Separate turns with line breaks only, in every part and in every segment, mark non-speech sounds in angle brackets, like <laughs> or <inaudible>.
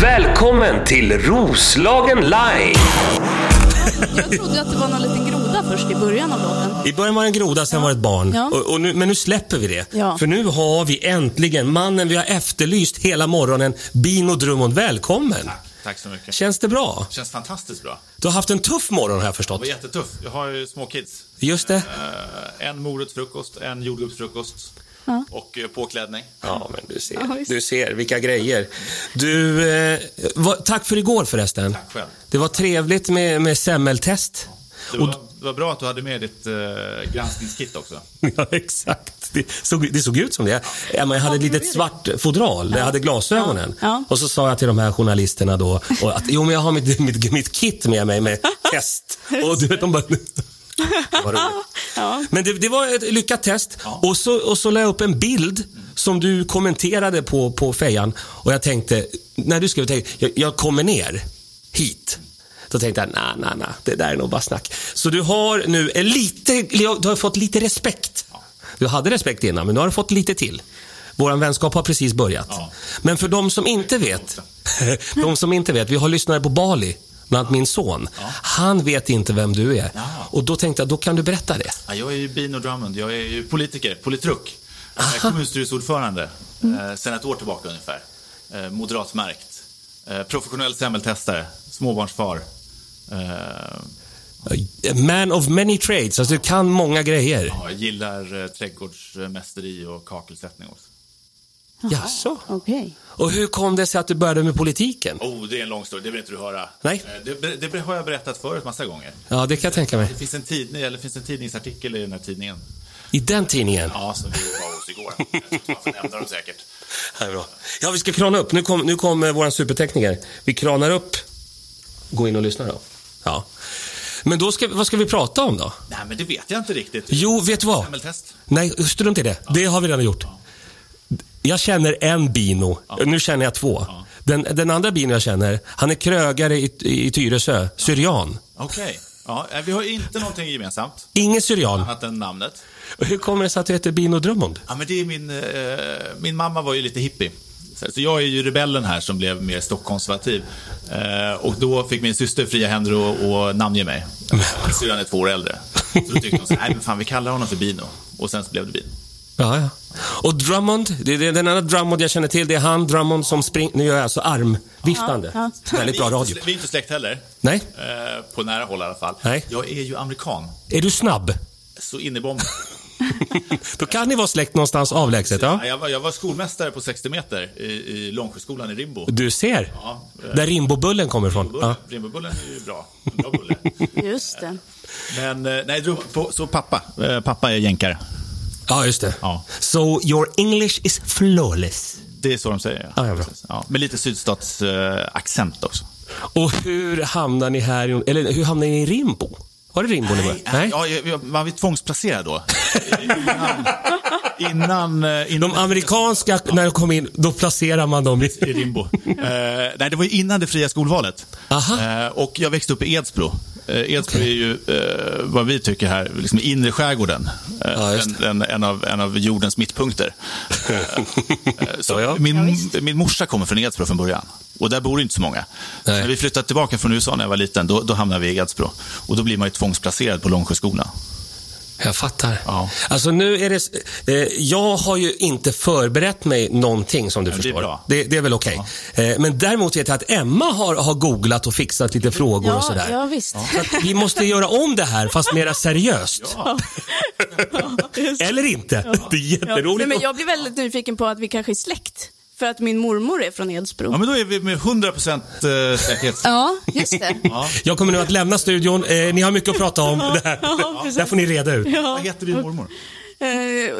Välkommen till Roslagen Live!
Jag trodde att det var någon liten groda först i början av låten.
I början var det en groda, sen var det ett barn.
Ja.
Och, och nu, men nu släpper vi det.
Ja.
För nu har vi äntligen mannen vi har efterlyst hela morgonen, Bino Drummond. Välkommen!
Tack så mycket.
Känns det bra?
Det känns fantastiskt bra.
Du har haft en tuff morgon har jag förstått.
Det var jättetuff. Jag har ju små kids.
Just det.
Eh, en morotsfrukost, en jordgubbsfrukost och eh, påklädning.
Ja, men du
Ja,
ser.
visst.
Du ser, vilka grejer. Du, eh, vad- tack för igår förresten.
Tack själv.
Det var trevligt med, med semmeltest.
Det
Och-
var, det var bra att du hade med ditt eh, granskningskit också.
<laughs> Ja, exakt. Det såg, det såg ut som det. Emma, jag hade ett litet svart fodral där jag hade glasögonen.
Ja. Ja.
Och så sa jag till de här journalisterna då och att jo, men jag har mitt, mitt, mitt kit med mig med test. Och du vet, de bara... <laughs> Vad roligt.
Ja.
Men det, det var ett lyckat test. Och, så, och så la jag upp en bild som du kommenterade på, på fejan. Och jag tänkte, när du skrev tänkte, jag, jag kommer ner hit. Då tänkte jag, nej, nej, nej, det där är nog bara snack. Så du har nu en lite, du har fått lite respekt. Du hade respekt innan, men nu har du fått lite till. Vår vänskap har precis börjat.
Ja.
Men för de som inte vet, <laughs> de som inte vet, vi har lyssnare på Bali, bland annat min son. Han vet inte vem du är. Och då tänkte jag, då kan du berätta det.
Ja, jag är ju Bino Drummond. Jag är ju politiker, politruk. Jag är kommunstyrelseordförande eh, sen ett år tillbaka ungefär. Eh, moderatmärkt. Eh, professionell semmeltestare. Småbarnsfar. Eh,
Man of many trades, alltså du kan många grejer.
ja, jag gillar eh, trädgårdsmästeri och kakelsättning också.
Jaså?
Okej.
Och hur kom det sig att du började med politiken?
Oh, det är en lång historia. Det vill inte du höra.
Nej.
Eh, Det, det har jag berättat förut massa gånger.
Ja, det kan jag tänka mig.
Det finns en, tidning, eller finns en tidningsartikel i den här tidningen.
I den tidningen?
Ja, som vi var hos igår. Varför nämnde de säkert?
Ja, bra. ja vi ska krana upp. Nu kommer nu kom eh, vår supertekniker. Vi kranar upp. Gå in och lyssna då. Ja. Men då ska, vad ska vi prata om då?
Nej, men det vet jag inte riktigt.
Jo, vet du vad?
Semmeltest.
Nej, strunt i det. Det har vi redan gjort. Jag känner en Bino. Nu känner jag två. Den, den andra Bino jag känner, han är krögare i, i Tyresö. Syrian.
Okej. Ja, eh, vi har inte någonting gemensamt,
Ingen syrian.
annat än namnet.
Hur kommer det sig att du heter Bino Drummond?
Ja, men det är min, eh, min mamma var ju lite hippie. Så så jag är ju rebellen här som blev mer stockkonservativ. Eh, och då fick min syster fria händer och, och namnge mig. Eh, Syrran är två år äldre. Så då tyckte hon så här, nej men fan vi kallar honom för Bino. Och sen så blev det Bino.
Ja, ja. Och Drummond, det är den andra Drummond jag känner till, det är han Drummond som springer... Nu gör jag alltså armviftande.
Ja,
Väldigt bra
vi, är
radio.
inte, vi är inte släkt heller.
Nej,
Eh, på nära håll i alla fall.
Nej.
Jag är ju amerikan.
är du snabb?
Så in i bomben.
Då kan ni vara släkt någonstans avlägset. Ja.
Ja, Jag, var, jag var skolmästare på 60 meter i, i Långsjöskolan i Rimbo.
Du ser,
Ja, eh,
där Rimbobullen kommer ifrån.
Rimbobullen,
Ja.
Rimbobullen är ju bra. En bra bulle.
Just det.
Men eh, nej, dro- på, så pappa. Eh, Pappa är jänkare.
ja, just det.
Ja.
So your English is flawless.
Det är så de säger.
Ja, ja, bra.
Ja, med lite sydstatsaccent också.
Och hur hamnar ni här, i- eller hur hamnar ni i Rimbo? Var det Rimbo ni var? Nej.
Ja, jag, jag, man blir tvångsplacerad då. innan, innan, eh, innan
De amerikanska, när de kom in, då placerar man dem i... <laughs>
i Rimbo. Eh, nej, det var ju innan det fria skolvalet.
Aha.
Eh, och jag växte upp i Edsbro. Eh, Edsbro är ju eh, vad vi tycker här, liksom inre skärgården. Eh,
Ja, just
en, en, en, av, en av
<laughs>
jordens mittpunkter. Eh, eh, så
Ja, ja.
Ja,
Min,
visst.
min morsa kommer från Edsbro från början. Och där bor det inte så många. Så
Nej.
när vi flyttade tillbaka från USA när jag var liten, då, då hamnade vi i Edsbro. Och då blir man ju tvångsplacerad på Långsjöskolan.
Jag fattar.
Ja.
Alltså nu är det... Eh, jag har ju inte förberett mig någonting som du
det är
förstår.
bra.
Det, det är väl okej. Eh, men däremot vet jag att Emma har, har googlat och fixat lite frågor och
Ja,
sådär.
ja visst. Ja. <laughs>
Så att vi måste göra om det här, fast mera seriöst.
just.
Eller inte. Det är
Ja. Nej,
jätteroligt.
men jag blir väldigt nyfiken på att vi kanske är släkt. För att min mormor är från Edsbro.
Ja, men då är vi med 100% eh, säkerhet.
Ja, just det.
Jag kommer nu att lämna studion. Eh, ni har mycket att prata om. Det här
Ja, precis.
det här får ni reda ut.
Vad heter din mormor?
<laughs> Eh,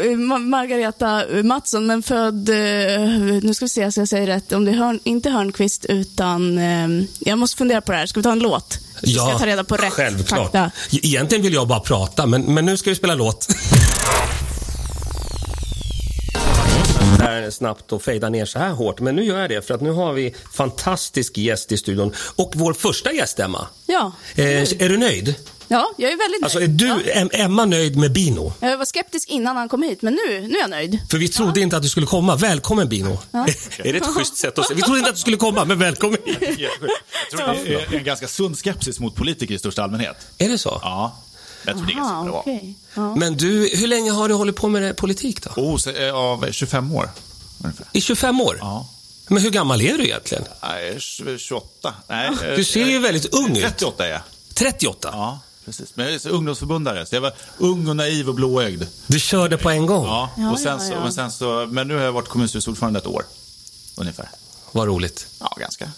Ma- Margareta Mattsson, men född, eh, nu ska vi se så jag säger rätt, om det är Hörn, inte Hörnqvist utan, eh, jag måste fundera på det här, ska vi ta en låt? Så ska jag ta reda på rätt
självklart.
fakta.
E- Egentligen vill jag bara prata, men, men nu ska vi spela <laughs> låt. Där snabbt och fejda ner så här hårt, men nu gör jag det för att nu har vi fantastisk gäst i studion och vår första gäst Emma.
Ja,
Eh, är du nöjd?
Ja, jag är väldigt
Alltså, är
nöjd.
du,
Ja.
Em- Emma, nöjd med Bino?
Jag var skeptisk innan han kom hit, men nu, nu är jag nöjd.
För vi trodde inte att du skulle komma. Välkommen Bino. <laughs> är det ett schysst sätt att säga? Vi trodde inte att du skulle komma, men välkommen hit.
Jag tror det är en ganska sund skepsis mot politiker i största allmänhet.
Är det så?
Ja, jag tror det är
Aha,
ganska bra.
okej. Ja.
Men du, hur länge har du hållit på med eh, politik då?
Oh, så, eh, av 25 år ungefär.
I 25 år?
Ja.
Men hur gammal är du egentligen?
Nej, tj- 28. Nej, eh,
Ah. Du ser ju väldigt ung ut.
38 är jag.
38?
Ja, precis. Men jag är så ungdomsförbundare, så jag var ung och naiv och blåögd.
Du körde på en gång?
Ja,
Ja,
och sen
ja,
så,
ja.
Men, sen så, men nu har jag varit kommunstyrelseordförande ett år, ungefär.
Vad roligt.
Ja, ganska.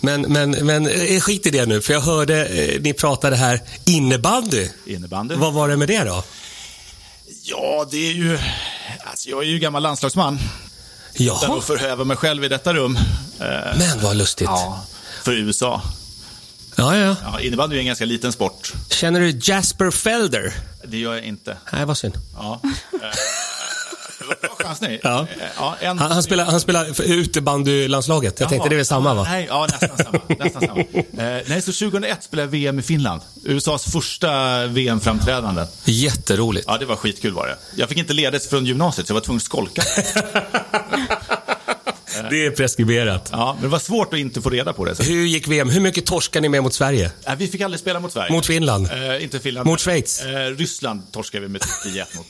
Men, men, men eh, skit i det nu, för jag hörde eh, ni pratade här innebandy.
Innebandy.
Vad var det med det då?
Ja, det är ju... Alltså, jag är ju gammal landslagsman. Utan
Jaha,
att förhöva mig själv i detta rum. Eh,
men vad lustigt. Ja,
ja, för USA.
ja. ja.
Ja, innebandy är en ganska liten sport.
Känner du Jasper Felder?
Det gör jag inte.
Nej, vad synd.
Ja. Eh, det var en bra chansning.
Ja.
Eh, ja, en...
Han, han spelar, han spelar för utebandylandslaget. Jag tänkte det är väl samma va?
Nej, ja, nästan samma. Nästan samma. Eh, nej, så 2001 spelade jag VM i Finland. USAs första VM-framträdande.
Jätteroligt.
Ja, det var skitkul var det. Jag fick inte ledigt från gymnasiet, så jag var tvungen att <laughs> skolka.
<laughs> Det är preskriberat.
Ja, men det var svårt att inte få reda på det. Så.
Hur gick VM? Hur mycket torskade ni med mot Sverige?
Nej, vi fick aldrig spela mot Sverige.
Mot Finland?
Eh, inte Finland.
Mot Schweiz?
Eh, Ryssland torskade vi med 10-1 mot.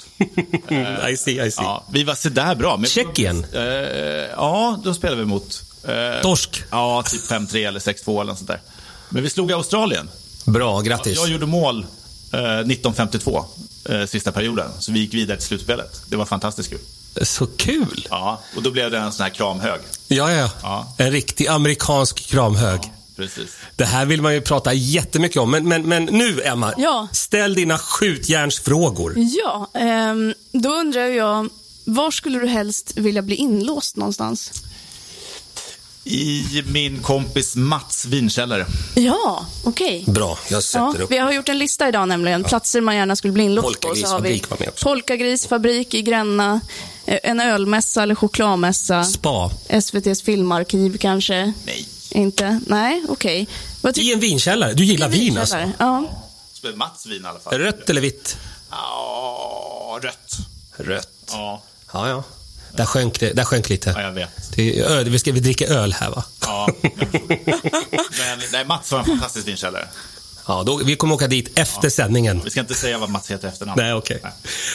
I see, I see.
<laughs> Ja, vi var sådär bra. Men...
Tjeckien?
Eh, ja, då spelade vi mot... eh,
Torsk?
Ja, typ 5-3 eller 6-2 eller något sånt där. Men vi slog Australien.
Bra, grattis.
Jag gjorde mål eh, 1952, eh, sista perioden. Så vi gick vidare till slutspelet. Det var fantastiskt kul.
Så kul!
Ja, och då blev det en sån här kramhög.
Ja, ja, ja.
Ja.
En riktig amerikansk kramhög.
Precis.
Det här vill man ju prata jättemycket om, men, men, men nu Emma,
Ja.
ställ dina skjutjärnsfrågor.
Ja, ehm, då undrar jag, var skulle du helst vilja bli inlåst någonstans?
I min kompis Mats vinkällare.
Ja, okej.
Bra, jag
Ja,
sätter upp.
vi har gjort en lista idag nämligen, platser man gärna skulle bli inlåst på. Så har vi
Polkagrisfabrik var med också.
Polkagrisfabrik i Gränna, eh, en ölmässa eller chokladmässa,
Spa.
SVTs filmarkiv kanske?
Nej.
Inte? Nej, okej. Vad tycker
I en vinkällare. Du gillar vin alltså?
Vinkällare, Ja.
Så blev Mats vin i alla fall.
Rött eller vitt?
Ja, rött.
Rött.
Ja,
Ja, ja. Där sjönk, det, där sjönk lite.
ja, jag vet.
Det är öl, vi, ska, vi dricker öl här va?
Ja, <laughs> Men nej, Mats var en fantastisk vinkällare.
Ja, då, vi kommer åka dit efter sändningen.
Vi ska inte säga vad Mats heter efternamn.
Nej, okej.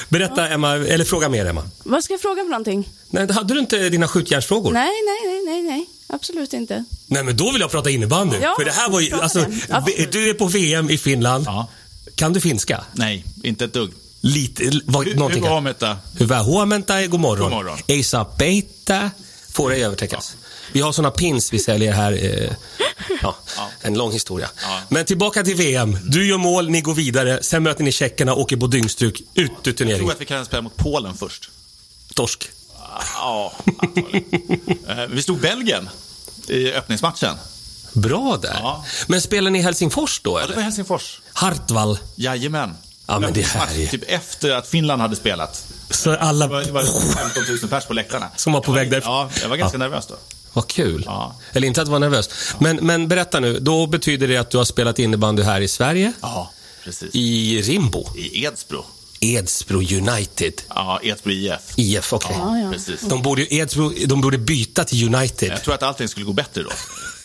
Berätta Emma, eller fråga mer Emma.
Vad ska jag fråga för någonting?
Nej, hade du inte dina skjutjärnsfrågor?
Nej, nej, nej, nej, nej. Absolut inte.
Nej, men då vill jag prata innebandy.
Ja,
För det här var ju,
prata
alltså,
den. Absolut.
du är på VM i Finland.
Ja.
Kan du finska?
Nej, inte ett dugg.
Lite, vad, någonting.
Hugo Hameta.
Hyvää huomenta, god morgon.
God morgon.
Eisa peita, får ej övertäckas. Vi har sådana pins vi säljer här. Eh, ja, En lång historia.
Ja.
Men tillbaka till VM. Du gör mål, ni går vidare. Sen möter ni tjeckerna, åker på dyngstryk, ut ur
Jag tror
turneringen.
att vi kan spela mot Polen först.
Torsk. <laughs>
Ja, antagligen. Eh, Vi slog Belgien i öppningsmatchen.
Bra där.
Ja.
Men spelar ni i Helsingfors då,
Ja, det
eller?
var Helsingfors.
Hartwall.
Jajamän.
Ja, men det här är ju-
Typ efter att Finland hade spelat.
Så alla...
Det var, det var 15 000 pers på läktarna.
Som var på
Jag
väg därifrån.
Ja, jag var ganska nervös då.
Vad kul.
Ja.
Eller inte att vara nervös. Men, men berätta nu, då betyder det att du har spelat innebandy här i Sverige,
Ja, precis. I,
i Rimbo,
Edsbro.
Edsbro United,
Ja, Edsbro IF.
IF, okej.
Ja, ja.
Precis.
De borde, ju- Edsbro, de borde byta till United.
Jag tror att allting skulle gå bättre då.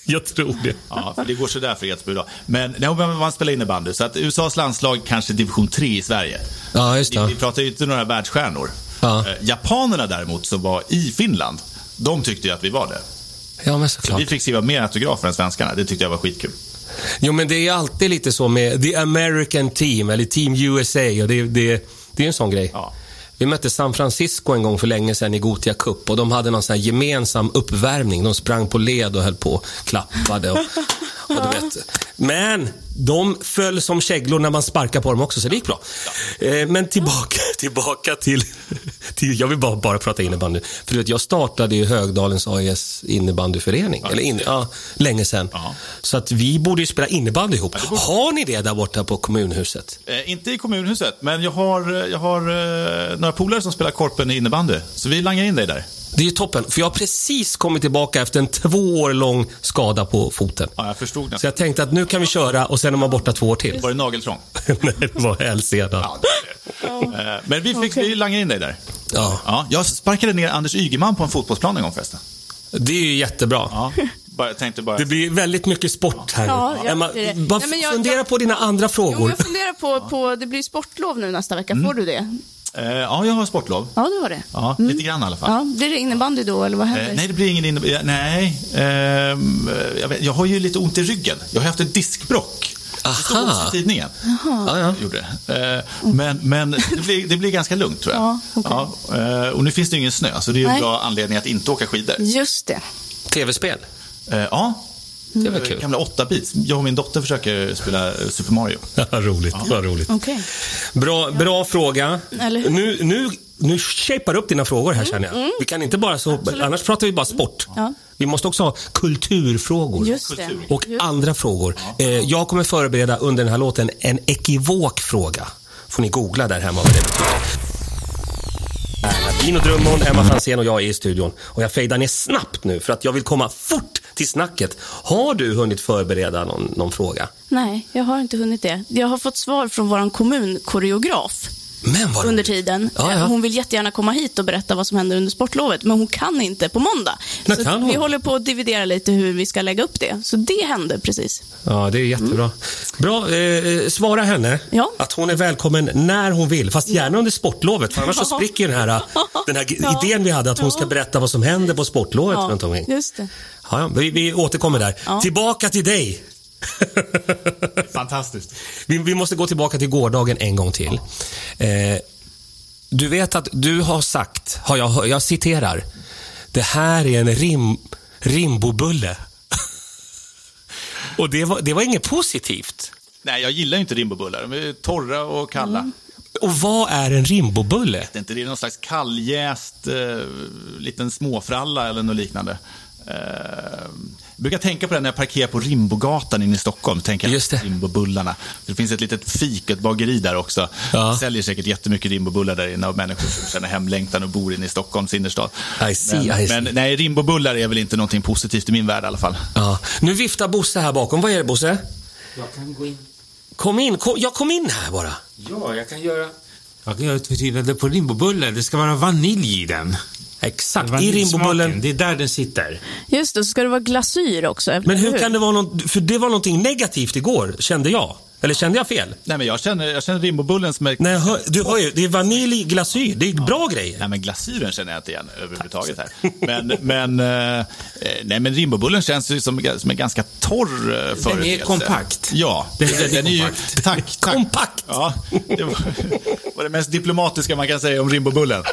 Jag tror det.
Ja, för det går sådär för Edsbro idag. Men nej, men man spelar innebandy, så att USAs landslag kanske är division 3 i Sverige.
Ja, just
Vi,
det.
vi pratar ju inte några världsstjärnor.
Ja.
Eh, Japanerna däremot, som var i Finland, de tyckte ju att vi var det.
Ja, men
Vi
såklart.
fick skriva mer autografer än svenskarna. Det tyckte jag var skitkul.
Jo, men det är alltid lite så med the American team, eller Team USA, och det, det, det är en sån grej.
Ja.
Vi mötte San Francisco en gång för länge sedan i Gotia Cup och de hade någon sån här gemensam uppvärmning. De sprang på led och höll på och klappade. Och, och du vet. Men de föll som käglor när man sparkade på dem också, så det gick bra. Eh, Men tillbaka, <laughs> tillbaka till, till... Jag vill bara, bara prata innebandy. För du vet, jag startade ju Högdalens AIS innebandyförening. Eller in, ja, länge sedan.
Ja.
Så att vi borde ju spela innebandy ihop. Har ni det där borta på kommunhuset?
Eh, inte i eh, kommunhuset, men jag har, jag har eh, några polare som spelar korpen i innebandy. Så vi langar in dig där.
Det är ju toppen, för jag har precis kommit tillbaka efter en två år lång skada på foten.
Ja, jag förstod det.
Så jag tänkte att nu kan vi köra och sen är man borta två år till.
Var det nageltrång?
<laughs> Nej, det var hälsenan.
Ja, det var det. Eh, Men vi fick, vi langade in dig där.
Ja.
Ja, jag sparkade ner Anders Ygeman på en fotbollsplan en gång förresten.
Det är ju jättebra.
Ja, bara, tänkte bara...
Det blir väldigt mycket sport här
Ja,
nu.
jag-
Emma,
det-
bara
Nej, men jag-
fundera
jag-
på dina
Jo,
andra
men
frågor.
jag funderar på, på, det blir sportlov nu nästa vecka, får du det?
Eh, ja, jag har sportlov.
Ja, du har det. Mm.
Ja, Lite grann i alla fall.
Ja, blir det innebandy då, eller vad händer?
Eh, nej, det blir ingen innebandy. Nej, ehm, jag, vet, jag har ju lite ont i ryggen. Jag har haft ett diskbråck. Det stod
Aha.
också i tidningen.
Ja, ja.
Gjorde det. Eh, men men det, blir, det blir ganska lugnt tror jag.
Ja, okej.
Ja, eh, och nu finns det ju ingen snö, så det är ju en
Nej.
bra anledning att inte åka skidor.
Just det.
Tv-spel.
Eh, ja,
Det var kul.
gamla 8-bits. Jag och min dotter försöker spela eh, Super Mario.
Vad roligt. Vad roligt.
Okej.
Bra, bra fråga.
Eller hur? Mm,
Nu, nu, nu shapar upp dina frågor här känner jag. Vi kan inte bara så, annars pratar vi bara sport.
Ja.
Vi måste också ha kulturfrågor.
Just det.
Kultur.
Och andra frågor. Eh, jag kommer förbereda under den här låten en ekivok fråga. Får ni googla där hemma vad det betyder. Dino Drummond, Emma Franzén och jag är i studion. Och jag fejdar ner snabbt nu för att jag vill komma fort till snacket. Har du hunnit förbereda någon, någon fråga?
Nej, jag har inte hunnit det. Jag har fått svar från vår kommunkoreograf
Men vad
under
roligt.
tiden.
Mm. Ja, ja.
Hon vill jättegärna komma hit och berätta vad som händer under sportlovet, men hon kan inte på måndag.
Men
Så
kan hon?
vi håller på att dividera lite hur vi ska lägga upp det. Så det hände precis.
Ja, det är jättebra. Bra, eh, svara henne
Ja.
att hon är välkommen när hon vill, fast gärna under sportlovet, för
<laughs>
annars så
Ja.
spricker den här, eh, den här
Ja.
idén vi hade att hon ska
Ja.
berätta vad som händer på sportlovet
Ja,
runt omkring.
just det.
Ja, ja, vi, vi återkommer där.
Ja.
Tillbaka till dig.
Fantastiskt.
Vi, vi måste gå tillbaka till gårdagen en gång till. Eh, du vet att du har sagt, har jag, hör- jag citerar, det här är en rim, rimbobulle. <laughs> Och det var, det var inget positivt.
Nej, jag gillar ju inte rimbobullar. De är torra och kalla.
Mm. Och vad är en rimbobulle?
vet inte, det är någon slags kalljäst eh, liten småfralla eller något liknande. Eh, jag brukar tänka på det när jag parkerar på Rimbogatan inne i Stockholm. Tänker jag,
Just det.
Rimbobullarna. Det finns ett litet fik, ett bageri där också.
Ja.
Säljer säkert jättemycket Rimbobullar där inne och människor som känner hemlängtan och bor inne i Stockholms innerstad.
I see,
men,
I see.
men nej, Rimbobullar är väl inte någonting positivt i min värld i alla fall.
Ja. Nu viftar Bosse här bakom. Vad är det Bosse?
Jag kan gå in.
Kom in. Kom, jag kom in här bara.
Ja, jag kan göra... Jag kan göra ett förtydligande på rimbobulle. Det ska vara vanilj i den.
Exakt, i
Vaniljsmaken,
rimbobullen.
Det är där den sitter.
Just det, så ska det vara glasyr också.
Men hur kan det vara något, för det var någonting negativt igår, kände jag. Eller kände jag fel?
Nej, men jag känner, jag känner Rimbobullen som är...
Nej, jag hör, du hör ju, det är vanilj, glasyr. Det är bra grejer.
Nej, men glasyren känner jag inte igen överhuvudtaget här. Men, men, eh, eh, nej, men rimbobullen känns ju som, som en ganska torr eh, företeelse.
kompakt.
Ja,
Den är väldigt
ju- <laughs>
kompakt.
Tack, tack.
Kompakt.
Ja, det var, var det mest diplomatiska man kan säga om rimbobullen.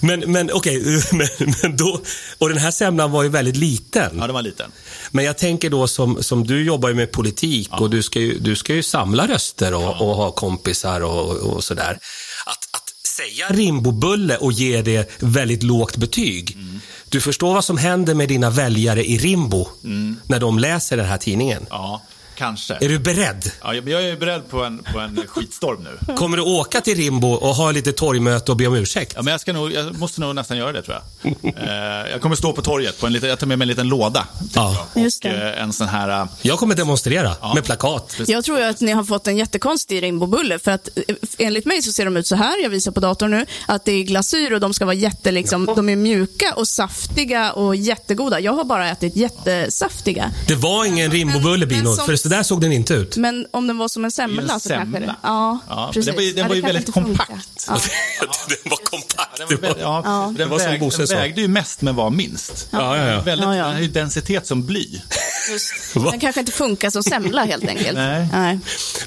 Men, men okej, <laughs> men, men då... Och den här semlan var ju väldigt liten.
Ja, den var liten.
Men jag tänker då som, som du jobbar ju med politik och du ska ju, du ska ju samla röster och, och ha kompisar och, och sådär. Att, att säga rimbobulle och ge det väldigt lågt betyg.
Mm.
Du förstår vad som händer med dina väljare i Rimbo
Mm.
när de läser den här tidningen.
Ja, kanske.
Är du beredd?
Ja, men jag är ju beredd på en, på en skitstorm nu.
Kommer du åka till Rimbo och ha lite torgmöte och be om ursäkt?
Ja, men jag, ska nog, jag måste nog nästan göra det, tror
<laughs>
jag. Eh, jag kommer stå på torget. På en liten, jag tar med mig en liten låda.
Ja.
Just
Och,
det.
eh, en sån här... eh,
Jag kommer demonstrera med plakat.
Jag tror ju att ni har fått en jättekonstig rimbobulle för att eh, enligt mig så ser de ut så här, jag visar på datorn nu, att det är glasyr och de ska vara jätte, liksom, de är mjuka och saftiga och jättegoda. Jag har bara ätit jättesaftiga.
Det var ingen rimbobulle,
men
Bino,
som-
för så där såg den inte ut.
Men om den var som en semla,
Det är ju en
så kanske det...
semla.
Ja,
Ja,
precis.
den var ju- den
Ja, det
var ju
kanske
väldigt
inte funkar.
kompakt.
Ja.
<laughs> den var kompakt.
Den, var, ja, precis.
Det
den,
var som
väg,
Bosse
den
sa.
vägde ju mest men var minst.
Ja, ja, ja.
Väldigt,
Ja, ja.
Den har ju densitet som bly. <laughs>
Va?
Den kanske inte funkar som semla helt enkelt.
Nej.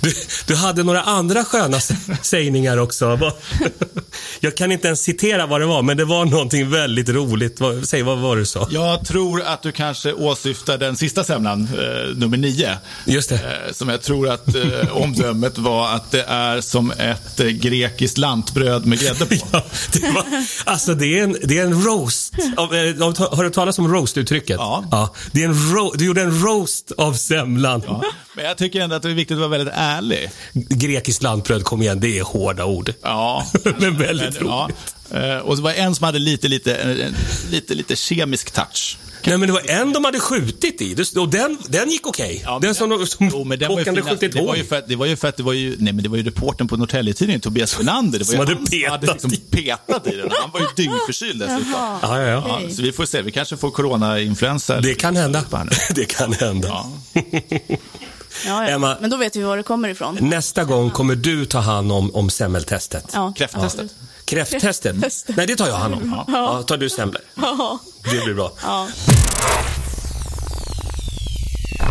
Du, du hade några andra sköna s- sägningar också. <laughs> Vad- Jag kan inte ens citera vad det var, men det var någonting väldigt roligt. Vad- Säg, vad var det du sa?
Jag tror att du kanske åsyftar den sista semlan, eh, nummer nio.
Just det.
Eh, som jag tror att eh, omdömet var att det är som ett eh, grekiskt lantbröd med grädde på.
<laughs> Ja, det var, alltså det är en, det är en roast. Av, eh, av- har du talat om roast-uttrycket?
Ja.
det är en ro, du gjorde en roast av semlan.
Ja. Men jag tycker ändå att det är viktigt att vara väldigt ärlig.
Grekiskt lantbröd, kom igen, det är hårda ord.
Ja.
Men väldigt roligt.
ja. Eh, och så var det en som hade lite, lite, eh, lite, lite kemisk touch.
Nej, men det var en de hade skjutit i. Det- Och den, den gick okej. den som, de- som
Jo, men den var ju
Håkan hade
fin.
skjutit
det var
ihåg.
ju för att det var ju för att det var ju, nej men det var ju reportern på Norrtäljetidningen, Tobias Sjölander. Det var
Som
ju
hade
han
petat
hade liksom
i.
petat i den. Han var ju dyngförkyld dessutom.
Ja, ja, ja.
Ja, så vi får se, vi kanske får coronainfluensa.
Det kan hända. <laughs> Det kan hända.
Ja.
Ja, ja.
Emma.
Men då vet vi var det kommer ifrån.
Nästa gång kommer du ta hand om, om semmeltestet.
Ja.
Kräfttestet.
Kräfttestet?
Kräfttestet.
Nej, det tar jag hand om. Ja. tar du semlor.
Ja.
Det blir bra.
Ja.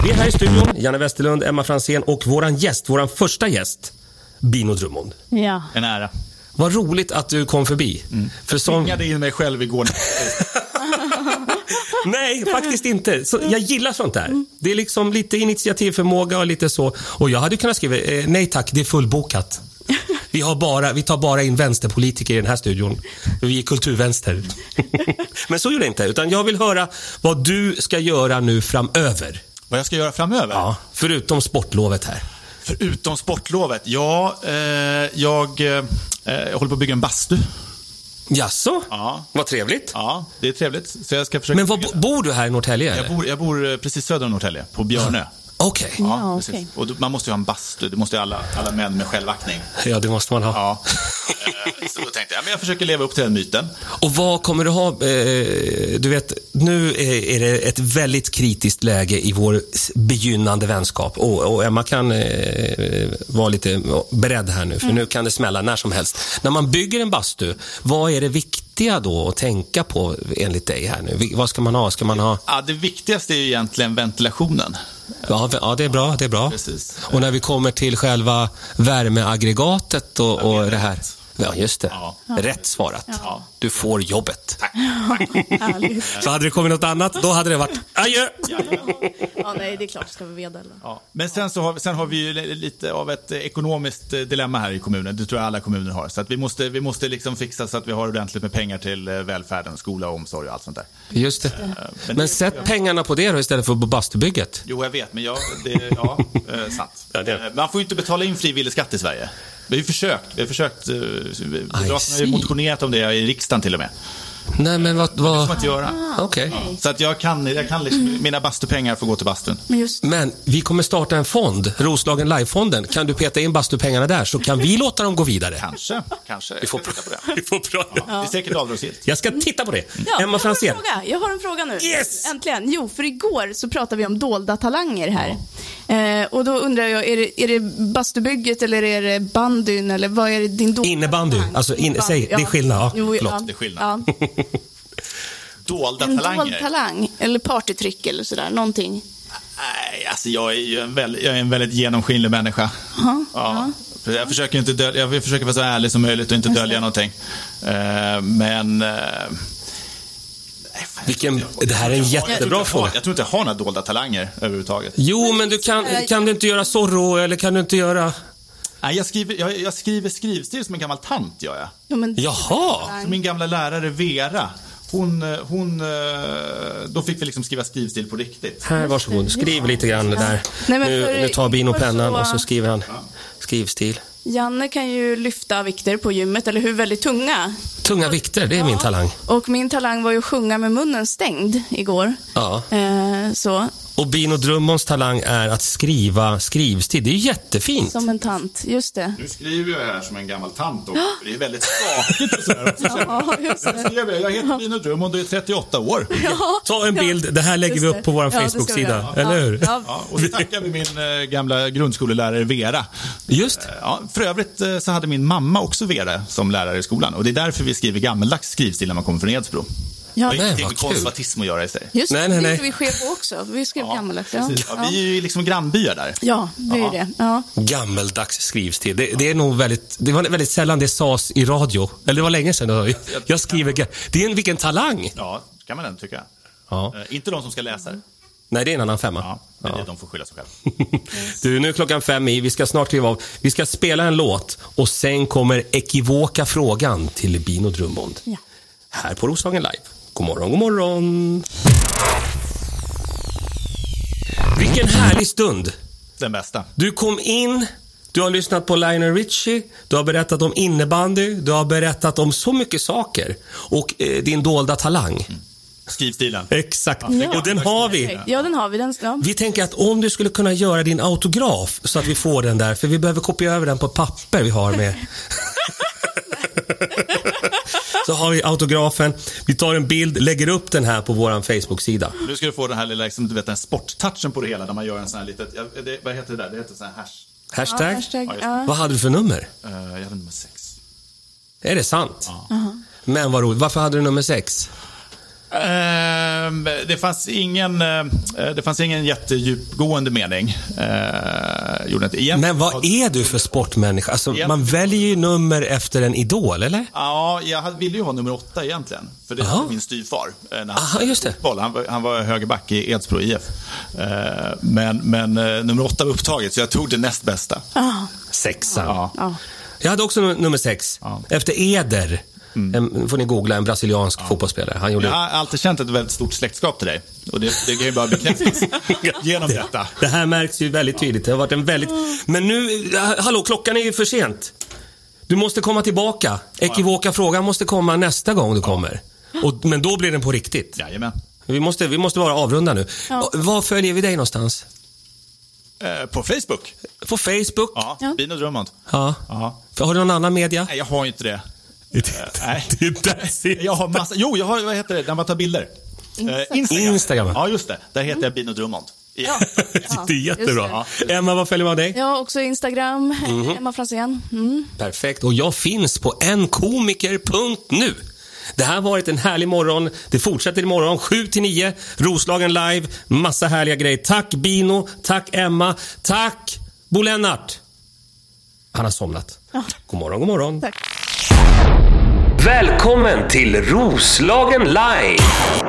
Vi är här i studion, Janne Westerlund, Emma Fransén och våran gäst, våran första gäst, Bino Drummond.
ja.
En ära.
Vad roligt att du kom förbi. För
Jag
som...
ringade in mig själv igår.
<laughs> Nej, faktiskt inte. Så jag gillar sånt där. Det är liksom lite initiativförmåga och lite så. Och jag hade kunnat skriva, eh, nej tack, det är <laughs> fullbokat. Vi, har bara, vi tar bara in vänsterpolitiker i den här studion. För Vi är kulturvänster. <laughs> Men så gjorde jag inte. Utan jag vill höra vad du ska göra nu framöver.
Vad jag ska göra framöver?
Ja, förutom sportlovet här.
Förutom sportlovet? Ja, eh, jag, eh, jag håller på att bygga en bastu.
Jaså?
Ja.
Vad trevligt.
Ja, det är trevligt. Så jag ska försöka...
Men vad, bo- bor du här i Norrtälje? eller?
jag, bor, jag bor eh, precis söder om Norrtälje, på Björnö.
Okej.
Ja,
precis.
okej.
Och då- man måste ju ha en bastu, det måste ju alla, alla män med självaktning.
Ja, det måste man ha.
Ja. Eh, Så då tänkte jag, men jag försöker leva upp till den myten.
Och vad kommer du ha? Eh, du vet, nu är är det ett väldigt kritiskt läge i vår s- begynnande vänskap. Och, och Emma kan eh, vara lite beredd här nu, för
Mm.
nu kan det smälla när som helst. När man bygger en bastu, vad är det viktiga då att tänka på enligt dig här nu? Vi- Vad ska man ha? Ska man ha...
Ja, det viktigaste är ju egentligen ventilationen.
Ja, v- ja det är bra. Det är bra.
Precis.
Och när vi kommer till själva värmeaggregatet och, och det här. Ja, just det.
Ja.
Rätt svarat. Du får jobbet.
<laughs> Härligt.
Så hade det kommit något annat, då hade det varit adjö.
Ja, nej, det är klart ska vi vedelda.
Ja. Men sen, så har, vi- sen har vi ju li- lite av ett eh, ekonomiskt eh, dilemma här i kommunen. Det tror jag alla kommuner har. Så att vi måste, vi måste liksom fixa så att vi har ordentligt med pengar till eh, välfärden, skola och omsorg och allt sånt där.
Just det. Men sätt pengarna på det då istället för på bastubygget.
Jo, jag vet, men jag, det, ja, eh, sant.
Ja, det är det.
Eh, Man får ju inte betala in frivillig skatt i Sverige. Vi har försökt. Vi har försökt. eh, Moderaterna har ju
see.
motionerat om det i riksdagen till och med.
Nej, men vad...
Det
vad...
får man inte göra.
Okej.
Så att jag kan, jag kan liksom, mina bastupengar får gå till bastun.
Men just
Men vi kommer starta en fond, Roslagen Live-fonden. Kan du peta in bastupengarna där så kan vi låta dem gå vidare.
Kanske, kanske.
Vi får,
Jag ska titta på det.
vi får prata.
Det är säkert avdragsgillt.
Jag ska titta på det.
Ja,
Emma Franzén.
Jag har, en fråga. jag har en fråga nu.
Yes!
Äntligen. Jo, för igår så pratade vi om dolda talanger här. Eh, och då undrar jag, är det, är det bastubygget eller är det bandyn eller vad är det din dolda
Innebandy.
talang?
Alltså, in-
Innebandy,
säg, det är skillnad. Ja, förlåt.
Det är skillnad.
Ja.
Dolda
En dold
talanger?
talang eller partytrick eller sådär, någonting.
Nej, alltså jag är ju en väldigt, jag är en väldigt genomskinlig människa. Ja. Jag försöker, inte dölja, jag försöker vara så ärlig som möjligt och inte dölja någonting. Eh, men... eh, nej, fan,
Vilken-
jag tror
det
inte jag-
här är en
jag tror inte
jättebra
jag har-
fråga.
Jag tror inte jag har några dolda talanger överhuvudtaget.
Jo, men du kan, kan du inte göra Zorro eller kan du inte göra...
Nej, jag skriver, jag, jag skriver skrivstil som en gammal tant, gör jag.
Ja, men,
Jaha!
Så Min gamla lärare Vera, hon, eh, hon... eh, Då fick vi liksom skriva skrivstil på riktigt.
Här, varsågod. Skriv lite grann det där.
Nej, men
nu,
för-
nu tar Bino
igår så-
pennan och så skriver han skrivstil.
Janne kan ju lyfta vikter på gymmet, eller hur? Väldigt tunga.
Tunga vikter, det är min talang.
Och min talang var ju att sjunga med munnen stängd igår.
Ja.
Eh, så,
Och Bino Drummonds talang är att skriva skrivstil. Det är ju jättefint.
som en tant. Just det.
Nu skriver jag här som en gammal tant också, för det är väldigt skakigt och sådär.
<laughs> Ja, just
Jag
det.
skrev det. Jag heter Bino Drummond och är 38 år.
Ja,
Ta en
ja.
bild. Det här lägger vi
Just
upp på vår
det. Ja, det ska vi
Facebook-sida,
göra.
eller hur?
Ja, ja.
Ja, och så tackar vi min eh, gamla grundskolelärare Vera.
Just.
Ja, för övrigt eh, så hade min mamma också Vera som lärare i skolan och det är därför vi skriver gammeldags skrivstil när man kommer från Edsbro.
Ja,
det har ingenting
vad
med
kul.
konservatism att göra i sig.
Just det,
Nej, nej,
det
nej.
gjorde vi i Sjöbo också. Vi skrev gammaldags. Ja.
Precis. Ja,
Ja.
vi är ju liksom grannbyar där.
ja, det är ju det. Ja.
Gammeldags skrivstil. Det, det är nog väldigt, det var väldigt sällan det sades i radio. Eller det var länge sedan. Jag skriver... ga- Det är en, vilken talang!
Ja, kan man ändå tycka.
Ja. Mm.
Eh, Inte de som ska läsa det.
Nej, det är en annan femma.
Ja, men det- de får skylla sig själva.
Du, nu är klockan fem i. Vi ska snart kliva av. Vi ska spela en låt och sen kommer ekivoka frågan till Bino Drummond.
Ja.
Här på Roslagen Live. God morgon, god morgon. Vilken härlig stund.
Den bästa.
Du kom in Du har lyssnat på Lionel Richie, du har berättat om innebandy, du har berättat om så mycket saker och eh, din dolda talang.
Skrivstilen.
Exakt,
Mm. Ja.
och den har vi.
Ja, den har vi. Den, ja.
Vi tänker att om du skulle kunna göra din autograf så att vi får den där, för vi behöver kopiera över den på ett papper vi har med. så har vi autografen, vi tar en bild, lägger upp den här på vår Facebook-sida.
Nu ska du få den här lilla, liksom, du vet, den sporttouchen på det hela, där man gör en sån här litet, ja, det, vad heter det där? Det heter sån här hash.
Hashtag.
Ja, hashtag. Ja.
Vad hade du för nummer?
Eh, jag vet inte, men sex.
Är det sant? Uh-huh. Men vad roligt, varför hade du nummer sex?
Ehm, det, fanns ingen, eh, det fanns ingen jättedjupgående mening. Eh, gjorde inte. Egentligen,
Men vad är du för sportmänniska? Alltså,
Ja.
man väljer ju nummer efter en idol, eller?
Ja, jag hade- ville ju ha nummer åtta egentligen. För det
Aha.
hade min styvfar. eh, När han
Aha, just det.
fotboll. Han, var- han var högerback i Edsbro IF. Eh, Men, men eh, nummer åtta var upptaget, så jag tog det näst bästa.
Sexan.
Ja.
Ja.
Jag hade också num- nummer sex.
Ja.
Efter Eder. En, får ni googla, en brasiliansk fotbollsspelare. Han gjorde...
Jag har alltid känt ett väldigt stort släktskap till dig. Och det, det kan ju
<laughs>
bara bekräftas genom detta.
Det här märks ju väldigt tydligt. Det har varit en väldigt... Men nu, ha- hallå, klockan är ju för sent. Du måste komma tillbaka. Ekivoka frågan måste komma nästa gång du kommer. Och, men då blir den på riktigt.
Jajamän.
Vi måste, vi måste vara avrunda nu.
Ja.
Var följer vi dig någonstans?
Eh, På Facebook?
På Facebook?
Ja,
Ja.
Bino Drummond.
Ja.
Ja.
Har du någon annan media?
Nej, jag har ju inte det. Eh, Nej.
<laughs> Det är
<laughs>
där sitter-
Jag har massa, jo, jag har, vad heter det, när man tar bilder? Eh,
Instagram.
Ja, just det. Där heter jag Bino Drummond. Ja.
Det är jättebra. Emma, vad följer man dig?
Jag har också Instagram,
Mhm.
Emma Franzén. Mm.
Perfekt. Och jag finns på enkomiker.nu. Det här har varit en härlig morgon. Det fortsätter imorgon 7 till 9. Roslagen live. Massa härliga grejer. Tack Bino. Tack Emma. Tack Bo Lennart. Han har somnat. God morgon, god morgon.
Tack.
Välkommen till Roslagen live!